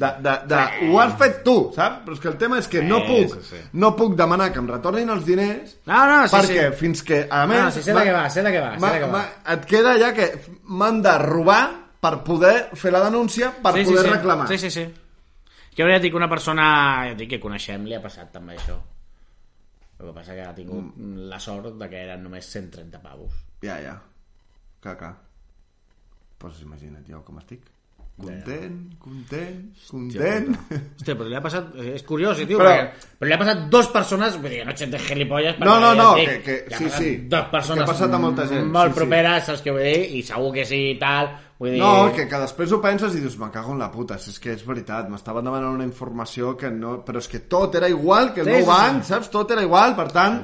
[SPEAKER 1] De, de, de, ho has fet tu, saps? Però és que el tema és que no
[SPEAKER 2] Sí,
[SPEAKER 1] puc,
[SPEAKER 2] sí, sí.
[SPEAKER 1] no puc demanar que em retornin els diners
[SPEAKER 2] No, no, sí,
[SPEAKER 1] perquè
[SPEAKER 2] sí.
[SPEAKER 1] fins que, a
[SPEAKER 2] No,
[SPEAKER 1] més...
[SPEAKER 2] sí, sé de què va, sé de què va, sé
[SPEAKER 1] ma-
[SPEAKER 2] de què va.
[SPEAKER 1] ma- Et queda ja que m'han de robar per poder fer la denúncia, per
[SPEAKER 2] sí,
[SPEAKER 1] poder
[SPEAKER 2] sí, sí.
[SPEAKER 1] reclamar.
[SPEAKER 2] Sí, sí, sí. Que ara ja tinc una persona ja dic, que coneixem, li ha passat també això. El que passa que ha tingut
[SPEAKER 1] Mm.
[SPEAKER 2] la sort de que eren només 130 pavos.
[SPEAKER 1] Ja, ja. Clar, clar. Pues imagina't jo com estic. Content, content, content.
[SPEAKER 2] Hòstia, però li ha passat... És curiós, eh, tio,
[SPEAKER 1] Però-
[SPEAKER 2] però... perquè... Però li ha passat dos persones... Vull dir, no ets de gilipolles... perquè
[SPEAKER 1] No, no,
[SPEAKER 2] ja
[SPEAKER 1] no,
[SPEAKER 2] et
[SPEAKER 1] que- que-
[SPEAKER 2] li ha
[SPEAKER 1] sí,
[SPEAKER 2] passat
[SPEAKER 1] sí.
[SPEAKER 2] Dos persones...
[SPEAKER 1] Que ha passat a molta gent,
[SPEAKER 2] Molt
[SPEAKER 1] sí, sí.
[SPEAKER 2] properes, saps què vull dir? I segur que sí i tal... Vull dir...
[SPEAKER 1] No, que, que després ho penses i dius, me cago en la puta, si és que és veritat, m'estaven demanant una informació que no... Però és que tot era igual que el
[SPEAKER 2] Sí,
[SPEAKER 1] sí, meu
[SPEAKER 2] sí,
[SPEAKER 1] banc, saps? Tot era igual, per tant,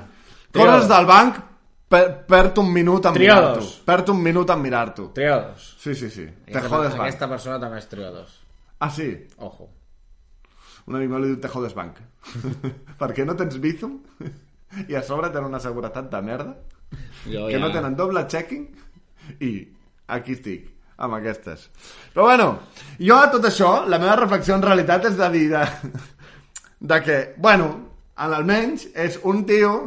[SPEAKER 2] Trio.
[SPEAKER 1] coses del banc, per, perd un minut en
[SPEAKER 2] Trio
[SPEAKER 1] mirar-t'ho.
[SPEAKER 2] dos.
[SPEAKER 1] Perd un minut en mirar-t'ho.
[SPEAKER 2] Triodos.
[SPEAKER 1] Sí, sí, sí. Te
[SPEAKER 2] Aquesta-
[SPEAKER 1] jodes banc.
[SPEAKER 2] Aquesta persona també és triodos.
[SPEAKER 1] Ah, sí?
[SPEAKER 2] Ojo.
[SPEAKER 1] Un amic meu li diu te jodes banc. Perquè no tens bizum i a sobre tenen una seguretat de merda
[SPEAKER 2] Jo
[SPEAKER 1] que no tenen doble checking i aquí estic amb aquestes. Però bueno, jo a tot això, la meva reflexió en realitat és de dir de, de que, bueno, al- almenys és un tio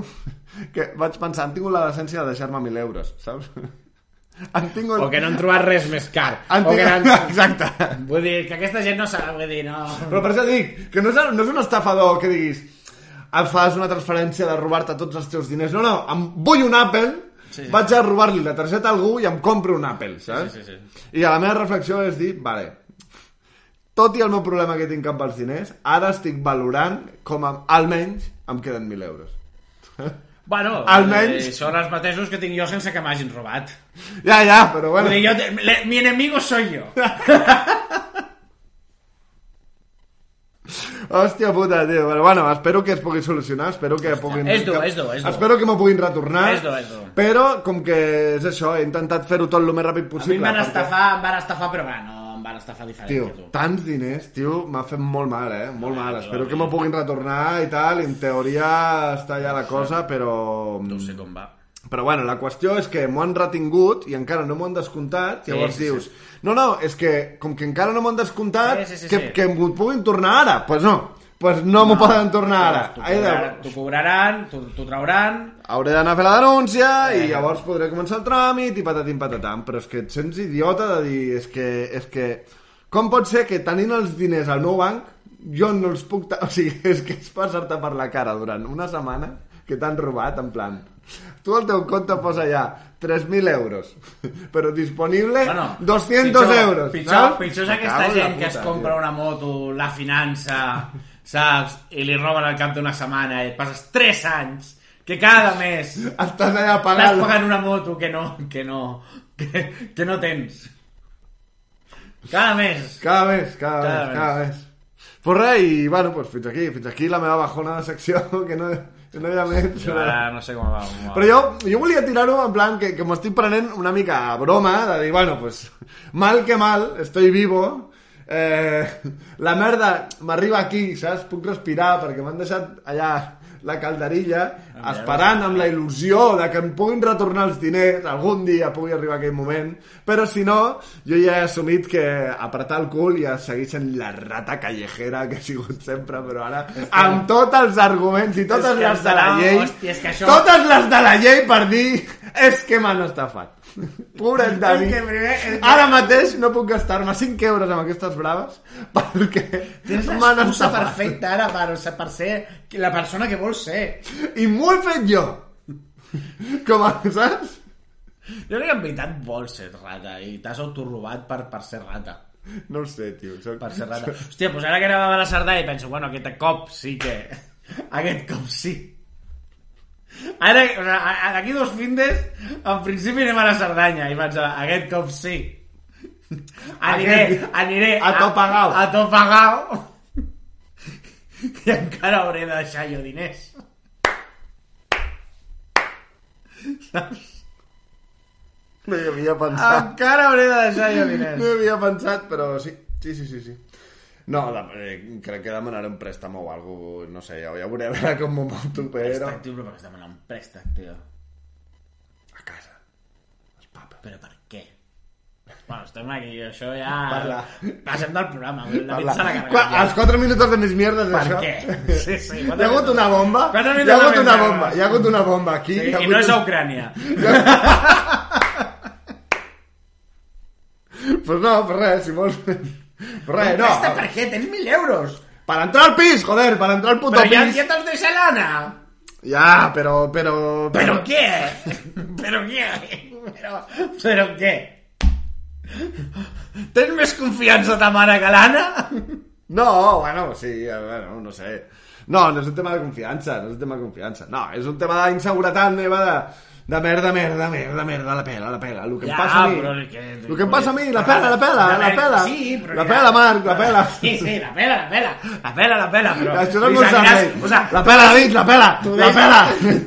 [SPEAKER 1] que vaig pensar, han tingut la decència de deixar-me 1.000 euros, saps? Han tingut...
[SPEAKER 2] O que no han trobat res més car.
[SPEAKER 1] Han
[SPEAKER 2] O que
[SPEAKER 1] tingut...
[SPEAKER 2] han...
[SPEAKER 1] Exacte.
[SPEAKER 2] Vull dir, que aquesta gent no sap, vull dir, no...
[SPEAKER 1] Però per això dic, que no és, no és un estafador que diguis em fas una transferència de robar-te tots els teus diners. No, no, em vull un Apple, sí. vaig a robar-li la targeta a algú i em compro un Apple, saps?
[SPEAKER 2] sí, sí,
[SPEAKER 1] I la meva reflexió és dir, vale, tot i el meu problema que tinc amb els diners, ara estic valorant com a, almenys em queden 1.000 euros.
[SPEAKER 2] Bueno,
[SPEAKER 1] Almenys-
[SPEAKER 2] eh, són els mateixos que tinc jo sense que m'hagin robat.
[SPEAKER 1] Ja, ja, però bueno...
[SPEAKER 2] Vull dir, jo, te- le- mi enemigo soy yo.
[SPEAKER 1] Hòstia puta, tio. Però bueno, espero que es pugui solucionar, espero que puguin...
[SPEAKER 2] és dur,
[SPEAKER 1] que-
[SPEAKER 2] és dur, és dur.
[SPEAKER 1] Espero que m'ho puguin retornar.
[SPEAKER 2] És dur, és dur.
[SPEAKER 1] Però, com que és això, he intentat fer-ho tot el més ràpid
[SPEAKER 2] A mi
[SPEAKER 1] possible.
[SPEAKER 2] em van
[SPEAKER 1] perquè,
[SPEAKER 2] estafar, em van estafar, però va, no, em van estafar diferent
[SPEAKER 1] Tio,
[SPEAKER 2] que tu.
[SPEAKER 1] tants diners, tio, m'ha fet molt mal, eh? Molt mal. Espero que m'ho puguin retornar i tal. En teoria està ja la cosa, però... mm,
[SPEAKER 2] No sé com va.
[SPEAKER 1] Però bueno, la qüestió és que m'ho han retingut i encara no m'ho han descomptat,
[SPEAKER 2] Sí,
[SPEAKER 1] llavors
[SPEAKER 2] sí, sí.
[SPEAKER 1] dius, no, no, és que com que encara no m'ho han descomptat,
[SPEAKER 2] Sí, sí, sí,
[SPEAKER 1] que,
[SPEAKER 2] sí.
[SPEAKER 1] que m'ho puguin tornar ara. Doncs pues no, pues no, m'ho poden tornar ara.
[SPEAKER 2] T'ho
[SPEAKER 1] He de-
[SPEAKER 2] cobraran, t'ho cobraran, t'ho t'ho trauran...
[SPEAKER 1] Hauré d'anar a fer la denúncia i llavors podré començar el tràmit i patatim patatam. Però és que et sents idiota de dir... És que, és que... Com pot ser que tenint els diners al meu banc jo no els puc... ta- O sigui, és que és passar-te per la cara durant una setmana que t'han robat, en plan... Tu al teu compte posa ja 3.000 euros, però disponible 200
[SPEAKER 2] pitjor,
[SPEAKER 1] Eh, euros.
[SPEAKER 2] Pitjor,
[SPEAKER 1] saps?
[SPEAKER 2] pitjor és
[SPEAKER 1] Me cago
[SPEAKER 2] aquesta
[SPEAKER 1] en la
[SPEAKER 2] gent que es
[SPEAKER 1] puta,
[SPEAKER 2] compra
[SPEAKER 1] tio.
[SPEAKER 2] una moto, la finança, saps? I li roben al cap d'una setmana i et passes 3 anys que cada mes
[SPEAKER 1] Estàs allà
[SPEAKER 2] estàs
[SPEAKER 1] pagant...
[SPEAKER 2] pagant una moto que no, que no, que, que no tens. Cada mes.
[SPEAKER 1] Cada vez, cada,
[SPEAKER 2] Cada
[SPEAKER 1] vez,
[SPEAKER 2] vez.
[SPEAKER 1] cada vez. Pues res, i bueno, pues fins aquí, fins aquí la meva bajona de secció, que no, que no hi ha més.
[SPEAKER 2] Jo ara no sé com va. Com va.
[SPEAKER 1] Però jo, jo volia tirar-ho en plan que, que m'ho estic prenent una mica a broma, de dir, bueno, pues, mal que mal, estoy vivo, eh, la merda m'arriba aquí, saps? Puc respirar perquè m'han deixat allà la calderilla, esperant amb la il·lusió de que em puguin retornar els diners, algun dia pugui arribar aquell moment, però si no, jo ja he assumit que apretar el cul ja segueix sent la rata callejera que he sigut sempre, però ara, amb tots els arguments i
[SPEAKER 2] És
[SPEAKER 1] totes
[SPEAKER 2] que
[SPEAKER 1] les de la
[SPEAKER 2] no,
[SPEAKER 1] llei,
[SPEAKER 2] hòstia, és que això-
[SPEAKER 1] totes les de la llei per dir és que m'han estafat. Pobret de mi.
[SPEAKER 2] És que primer- és que-
[SPEAKER 1] Ara mateix no puc gastar-me 5 euros amb aquestes braves perquè
[SPEAKER 2] Tens
[SPEAKER 1] m'han
[SPEAKER 2] l'excusa
[SPEAKER 1] estafat.
[SPEAKER 2] perfecta ara per, per ser la persona que vols ser.
[SPEAKER 1] I m'ho he fet jo. Com a, saps?
[SPEAKER 2] Jo crec que en veritat vols ser rata i t'has autorrobat per, per ser rata.
[SPEAKER 1] No ho sé, tio. Soc...
[SPEAKER 2] Per ser rata. Hòstia, doncs ara que anava a la Cerdà i penso, bueno, aquest cop sí que... Aquest cop sí. Ara, o sigui, a- a- d'aquí dos findes, en principi anem a la Cerdanya i vaig a... Aquest cop sí. Aniré,
[SPEAKER 1] Aquest-
[SPEAKER 2] aniré...
[SPEAKER 1] a to pagau.
[SPEAKER 2] A, a to pagau. I encara hauré de deixar jo diners.
[SPEAKER 1] No hi havia pensat.
[SPEAKER 2] Encara hauré de deixar jo
[SPEAKER 1] No
[SPEAKER 2] diners.
[SPEAKER 1] hi havia pensat, però sí. Sí, sí, sí, sí. No, la, eh, crec que demanaré un préstam o alguna cosa, no sé, ja, ja veuré a veure com m'ho monto, però...
[SPEAKER 2] Préstec, tio, però per què has demanat un préstec, tio?
[SPEAKER 1] A casa. Els papes.
[SPEAKER 2] Però per què? Bueno, estem aquí, això ja...
[SPEAKER 1] Parla.
[SPEAKER 2] Passem del programa, el David
[SPEAKER 1] Parla.
[SPEAKER 2] se la
[SPEAKER 1] Qua,
[SPEAKER 2] carrega.
[SPEAKER 1] els 4 minuts de més mierdes,
[SPEAKER 2] Per
[SPEAKER 1] això.
[SPEAKER 2] què? Sí, sí,
[SPEAKER 1] Hi ha hagut una bomba, hi
[SPEAKER 2] Quatre
[SPEAKER 1] ha
[SPEAKER 2] minuts
[SPEAKER 1] hagut
[SPEAKER 2] de
[SPEAKER 1] una
[SPEAKER 2] més
[SPEAKER 1] bomba,
[SPEAKER 2] mierdes.
[SPEAKER 1] hi ha hagut una bomba aquí.
[SPEAKER 2] Sí,
[SPEAKER 1] hi ha
[SPEAKER 2] I
[SPEAKER 1] hagut
[SPEAKER 2] no és
[SPEAKER 1] un-
[SPEAKER 2] a Ucrània.
[SPEAKER 1] Pues no, pues res, si vols... Pues res, no.
[SPEAKER 2] Aquesta per què? Tens 1.000 euros.
[SPEAKER 1] Per entrar al pis, joder, per entrar al puto
[SPEAKER 2] Però ja,
[SPEAKER 1] pis.
[SPEAKER 2] ja te'ls deixa l'Anna.
[SPEAKER 1] Ja, però, però...
[SPEAKER 2] Però què? Però què? Però, però què? Tens més confiança ta mare que l'Anna?
[SPEAKER 1] No, bueno, sí, eh, bueno, no sé. No, no és un tema de confiança, no és un tema de confiança. No, és un tema d'inseguretat meva de... De merda, merda, merda, merda, la pela, la pela. El que em
[SPEAKER 2] Ja,
[SPEAKER 1] passa a mi.
[SPEAKER 2] però que-
[SPEAKER 1] El que em passa a mi, la pela, la pela, la pela.
[SPEAKER 2] Sí, però
[SPEAKER 1] La
[SPEAKER 2] ja-
[SPEAKER 1] pela, Marc, la pela.
[SPEAKER 2] Sí, sí, la pela, la pela. La pela, la pela, però...
[SPEAKER 1] Això és el
[SPEAKER 2] I
[SPEAKER 1] meu
[SPEAKER 2] seguiràs-
[SPEAKER 1] servei.
[SPEAKER 2] O sigui,
[SPEAKER 1] La pela, David, la pela,
[SPEAKER 2] tu
[SPEAKER 1] la
[SPEAKER 2] deixes-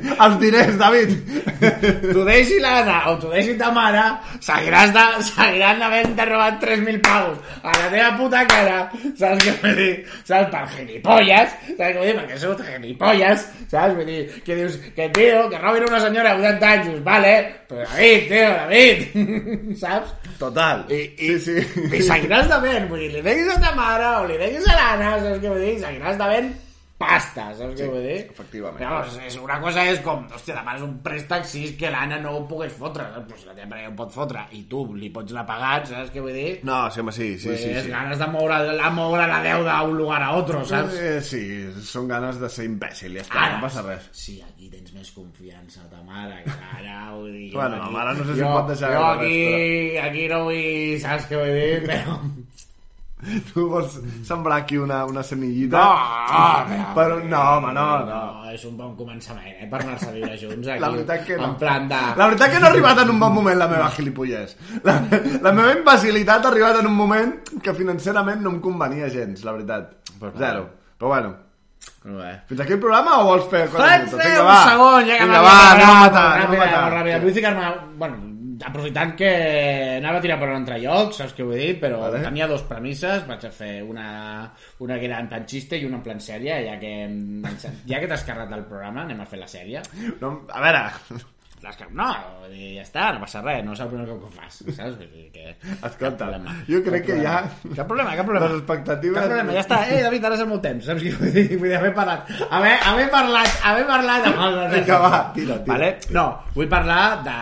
[SPEAKER 1] pela. Els diners, David.
[SPEAKER 2] t'ho deixi l'Anna o t'ho deixi ta mare, seguiràs de, seguiran d'haver-te robat 3.000 pavos a la teva puta cara, saps què vull dir? Saps, per gilipolles, saps què vull dir? Perquè sou gilipolles, saps? Vull dir, que dius, que tio, que robin una senyora de 80 anys, dius, vale, però David, tio, David, saps?
[SPEAKER 1] Total. I, i, sí,
[SPEAKER 2] I
[SPEAKER 1] sí.
[SPEAKER 2] seguiràs devent, vull dir, li deguis a ta mare o li deguis a l'Anna, saps què vull dir? Seguiràs devent pasta, saps què vull dir?
[SPEAKER 1] efectivament.
[SPEAKER 2] Llavors, és, una cosa és com, hòstia, demanes un préstec si és que l'Anna no ho pogués fotre, saps? Pues la teva mare ho pot fotre i tu li pots anar pagant, saps què vull dir?
[SPEAKER 1] No, sí, home, sí, sí,
[SPEAKER 2] Pues eh,
[SPEAKER 1] sí. sí.
[SPEAKER 2] ganes de moure, la, moure la deuda a un lugar a otro, saps?
[SPEAKER 1] Eh, sí, són ganes de ser imbècil, ja està,
[SPEAKER 2] Ara,
[SPEAKER 1] no passa res.
[SPEAKER 2] Sí, aquí tens més confiança, ta mare, que ara, vull dir... jo
[SPEAKER 1] Bueno,
[SPEAKER 2] aquí-
[SPEAKER 1] ara no sé si
[SPEAKER 2] jo,
[SPEAKER 1] pot deixar
[SPEAKER 2] Jo
[SPEAKER 1] la
[SPEAKER 2] aquí, aquí no vull... Saps què vull dir? Però...
[SPEAKER 1] Tu vols sembrar aquí una, una semillita? Ah,
[SPEAKER 2] No, no,
[SPEAKER 1] però no, home, no, no.
[SPEAKER 2] No, és un bon començament, eh, per anar-se a viure junts aquí.
[SPEAKER 1] La veritat que no.
[SPEAKER 2] En plan de...
[SPEAKER 1] La veritat que no ha arribat en un bon moment la meva gilipollès. La, la meva imbecilitat ha arribat en un moment que financerament no em convenia gens, la veritat. Zero. Però bueno, fins aquí el programa o vols fer quatre
[SPEAKER 2] Faig
[SPEAKER 1] minuts?
[SPEAKER 2] fer
[SPEAKER 1] Vinga,
[SPEAKER 2] un
[SPEAKER 1] va.
[SPEAKER 2] Doncs segon, ja que
[SPEAKER 1] Vinga,
[SPEAKER 2] m'ha
[SPEAKER 1] va,
[SPEAKER 2] dit
[SPEAKER 1] anem a
[SPEAKER 2] ràpid,
[SPEAKER 1] matar, anem
[SPEAKER 2] ràpid,
[SPEAKER 1] a matar.
[SPEAKER 2] ràpid. Vull ficar-me... Bueno, aprofitant que anava a tirar per un altre lloc, saps què vull dir? Però
[SPEAKER 1] Vale.
[SPEAKER 2] tenia dos premisses, vaig a fer una, una que era en plan xiste i una en plan sèrie, ja que, ja que t'has carregat del programa, anem a fer la sèrie.
[SPEAKER 1] No, a veure,
[SPEAKER 2] Les que... No, vull dir, ja està, no passa res, no és el primer cop que ho fas, saps? Vull dir que... cap
[SPEAKER 1] escolta,
[SPEAKER 2] problema.
[SPEAKER 1] jo crec
[SPEAKER 2] Cap
[SPEAKER 1] que ja...
[SPEAKER 2] problema. Cap problema, cap problema.
[SPEAKER 1] Les expectatives...
[SPEAKER 2] Cap problema, ja està. Eh, David, ara és el meu temps, saps què vull dir? Vull dir, haver parlat, haver, haver parlat, haver parlat... amb el-
[SPEAKER 1] Vinga, va, tira, tira.
[SPEAKER 2] Vale? No, vull parlar de...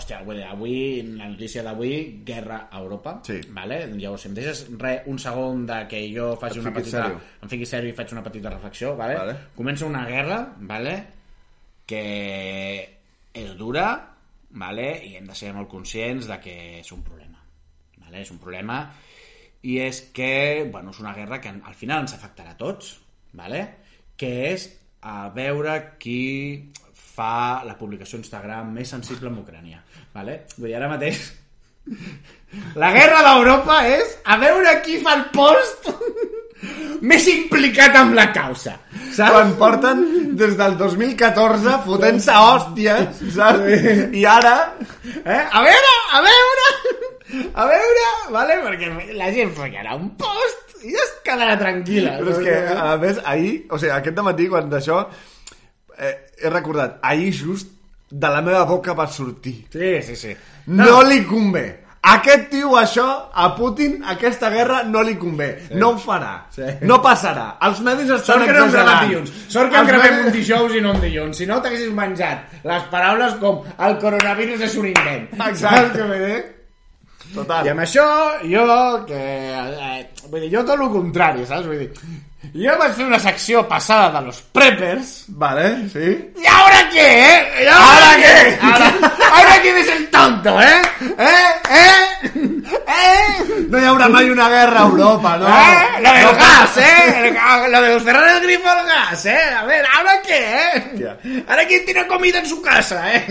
[SPEAKER 2] Hòstia, vull dir, avui, en la notícia d'avui, guerra a Europa.
[SPEAKER 1] Sí.
[SPEAKER 2] Vale? Llavors, si em deixes re, un segon de que jo faci
[SPEAKER 1] Et
[SPEAKER 2] una
[SPEAKER 1] fiquis
[SPEAKER 2] petita...
[SPEAKER 1] serio.
[SPEAKER 2] Em fiqui sèrio i faig una petita reflexió, vale?
[SPEAKER 1] Vale.
[SPEAKER 2] Comença una guerra, vale? que és dura, vale? i hem de ser molt conscients de que és un problema. Vale? És un problema i és que, bueno, és una guerra que al final ens afectarà a tots, vale? que és a veure qui fa la publicació a Instagram més sensible amb Ucrània. Vale? Vull dir, ara mateix... La guerra d'Europa és a veure qui fa el post més implicat amb la causa. Saps?
[SPEAKER 1] Quan porten des del 2014 fotent-se a hòsties, saps? I ara...
[SPEAKER 2] Eh? A veure, a veure, a veure, vale? perquè la gent fallarà un post i es quedarà tranquil·la.
[SPEAKER 1] Però és que, a més, ahir, o sigui, aquest matí quan d'això eh, he recordat, ahir just de la meva boca va sortir.
[SPEAKER 2] Sí, sí, sí.
[SPEAKER 1] No, li convé. Aquest tio, això, a Putin, aquesta guerra no li convé. No ho farà.
[SPEAKER 2] Sí.
[SPEAKER 1] No passarà. Els medis estan
[SPEAKER 2] Sort que no hem gravat
[SPEAKER 1] exagerant.
[SPEAKER 2] dilluns. Sort que en
[SPEAKER 1] Els
[SPEAKER 2] gravem
[SPEAKER 1] medis-
[SPEAKER 2] un dijous i no un dilluns. Si no, t'haguessis menjat les paraules com el coronavirus és un invent.
[SPEAKER 1] Exacte. que bé. Total.
[SPEAKER 2] I amb això, jo, que... Eh, vull dir, jo tot el contrari, saps? Vull dir, jo vaig fer una secció passada de los preppers
[SPEAKER 1] Vale, sí.
[SPEAKER 2] ¿Y ahora qué, eh? ¿Y ahora qué? Ahora, ahora quién es el tonto, ¿eh? ¿Eh? ¿Eh? ¿Eh?
[SPEAKER 1] No hi haurà mai una guerra a Europa, no?
[SPEAKER 2] ¿Eh? Lo del
[SPEAKER 1] No
[SPEAKER 2] gas,
[SPEAKER 1] passa.
[SPEAKER 2] ¿eh? El ga- lo de cerrar el grifo al gas, ¿eh? A ver, ¿ahora qué, eh?
[SPEAKER 1] Hostia.
[SPEAKER 2] ¿Ahora quién tiene comida en su casa, eh?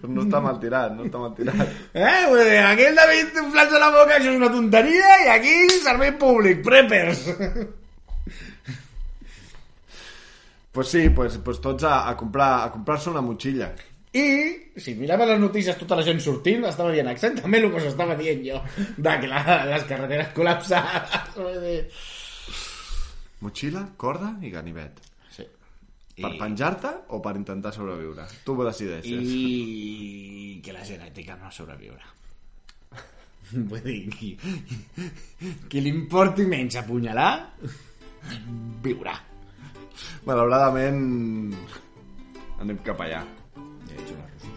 [SPEAKER 1] Pues no està mal tirat, no està mal tirat.
[SPEAKER 2] ¿Eh? Pues de aquí el David inflando la boca, eso es una tontería, y aquí servei públic, preppers.
[SPEAKER 1] Pues sí, pues, pues tots a, a comprar a comprar-se una motxilla.
[SPEAKER 2] I, si mirava les notícies, tota la gent sortint, estava dient exactament el que s'estava dient jo, de que la, les carreteres col·lapsades. vull dir.
[SPEAKER 1] Motxilla, corda i ganivet.
[SPEAKER 2] Sí.
[SPEAKER 1] Per
[SPEAKER 2] I-
[SPEAKER 1] penjar-te o per intentar sobreviure? Tu ho decideixes.
[SPEAKER 2] I que la genètica no sobreviure. Vull dir, qui, qui li importi menys apunyalar, viurà.
[SPEAKER 1] Malauradament, anem cap allà.
[SPEAKER 2] Ja he una cosa.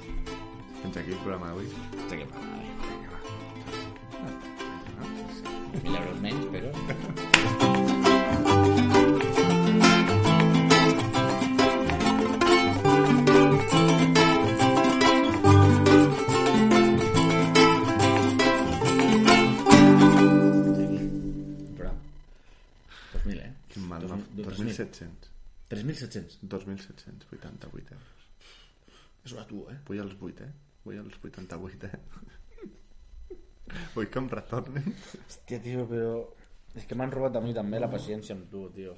[SPEAKER 1] Fins aquí el programa d'avui.
[SPEAKER 2] Hasta que para. Mil euros menys, però... Programa. 2.000, eh?
[SPEAKER 1] Quin mal, no?
[SPEAKER 2] 2.000.
[SPEAKER 1] 2.700.
[SPEAKER 2] 3.700.
[SPEAKER 1] 2.788 euros.
[SPEAKER 2] És una tu, eh?
[SPEAKER 1] eh? Vull els 8, eh? Vull els 88, eh? Vull que em retornin.
[SPEAKER 2] Hòstia, tio, però... És que m'han robat a mi també la paciència amb tu, tio.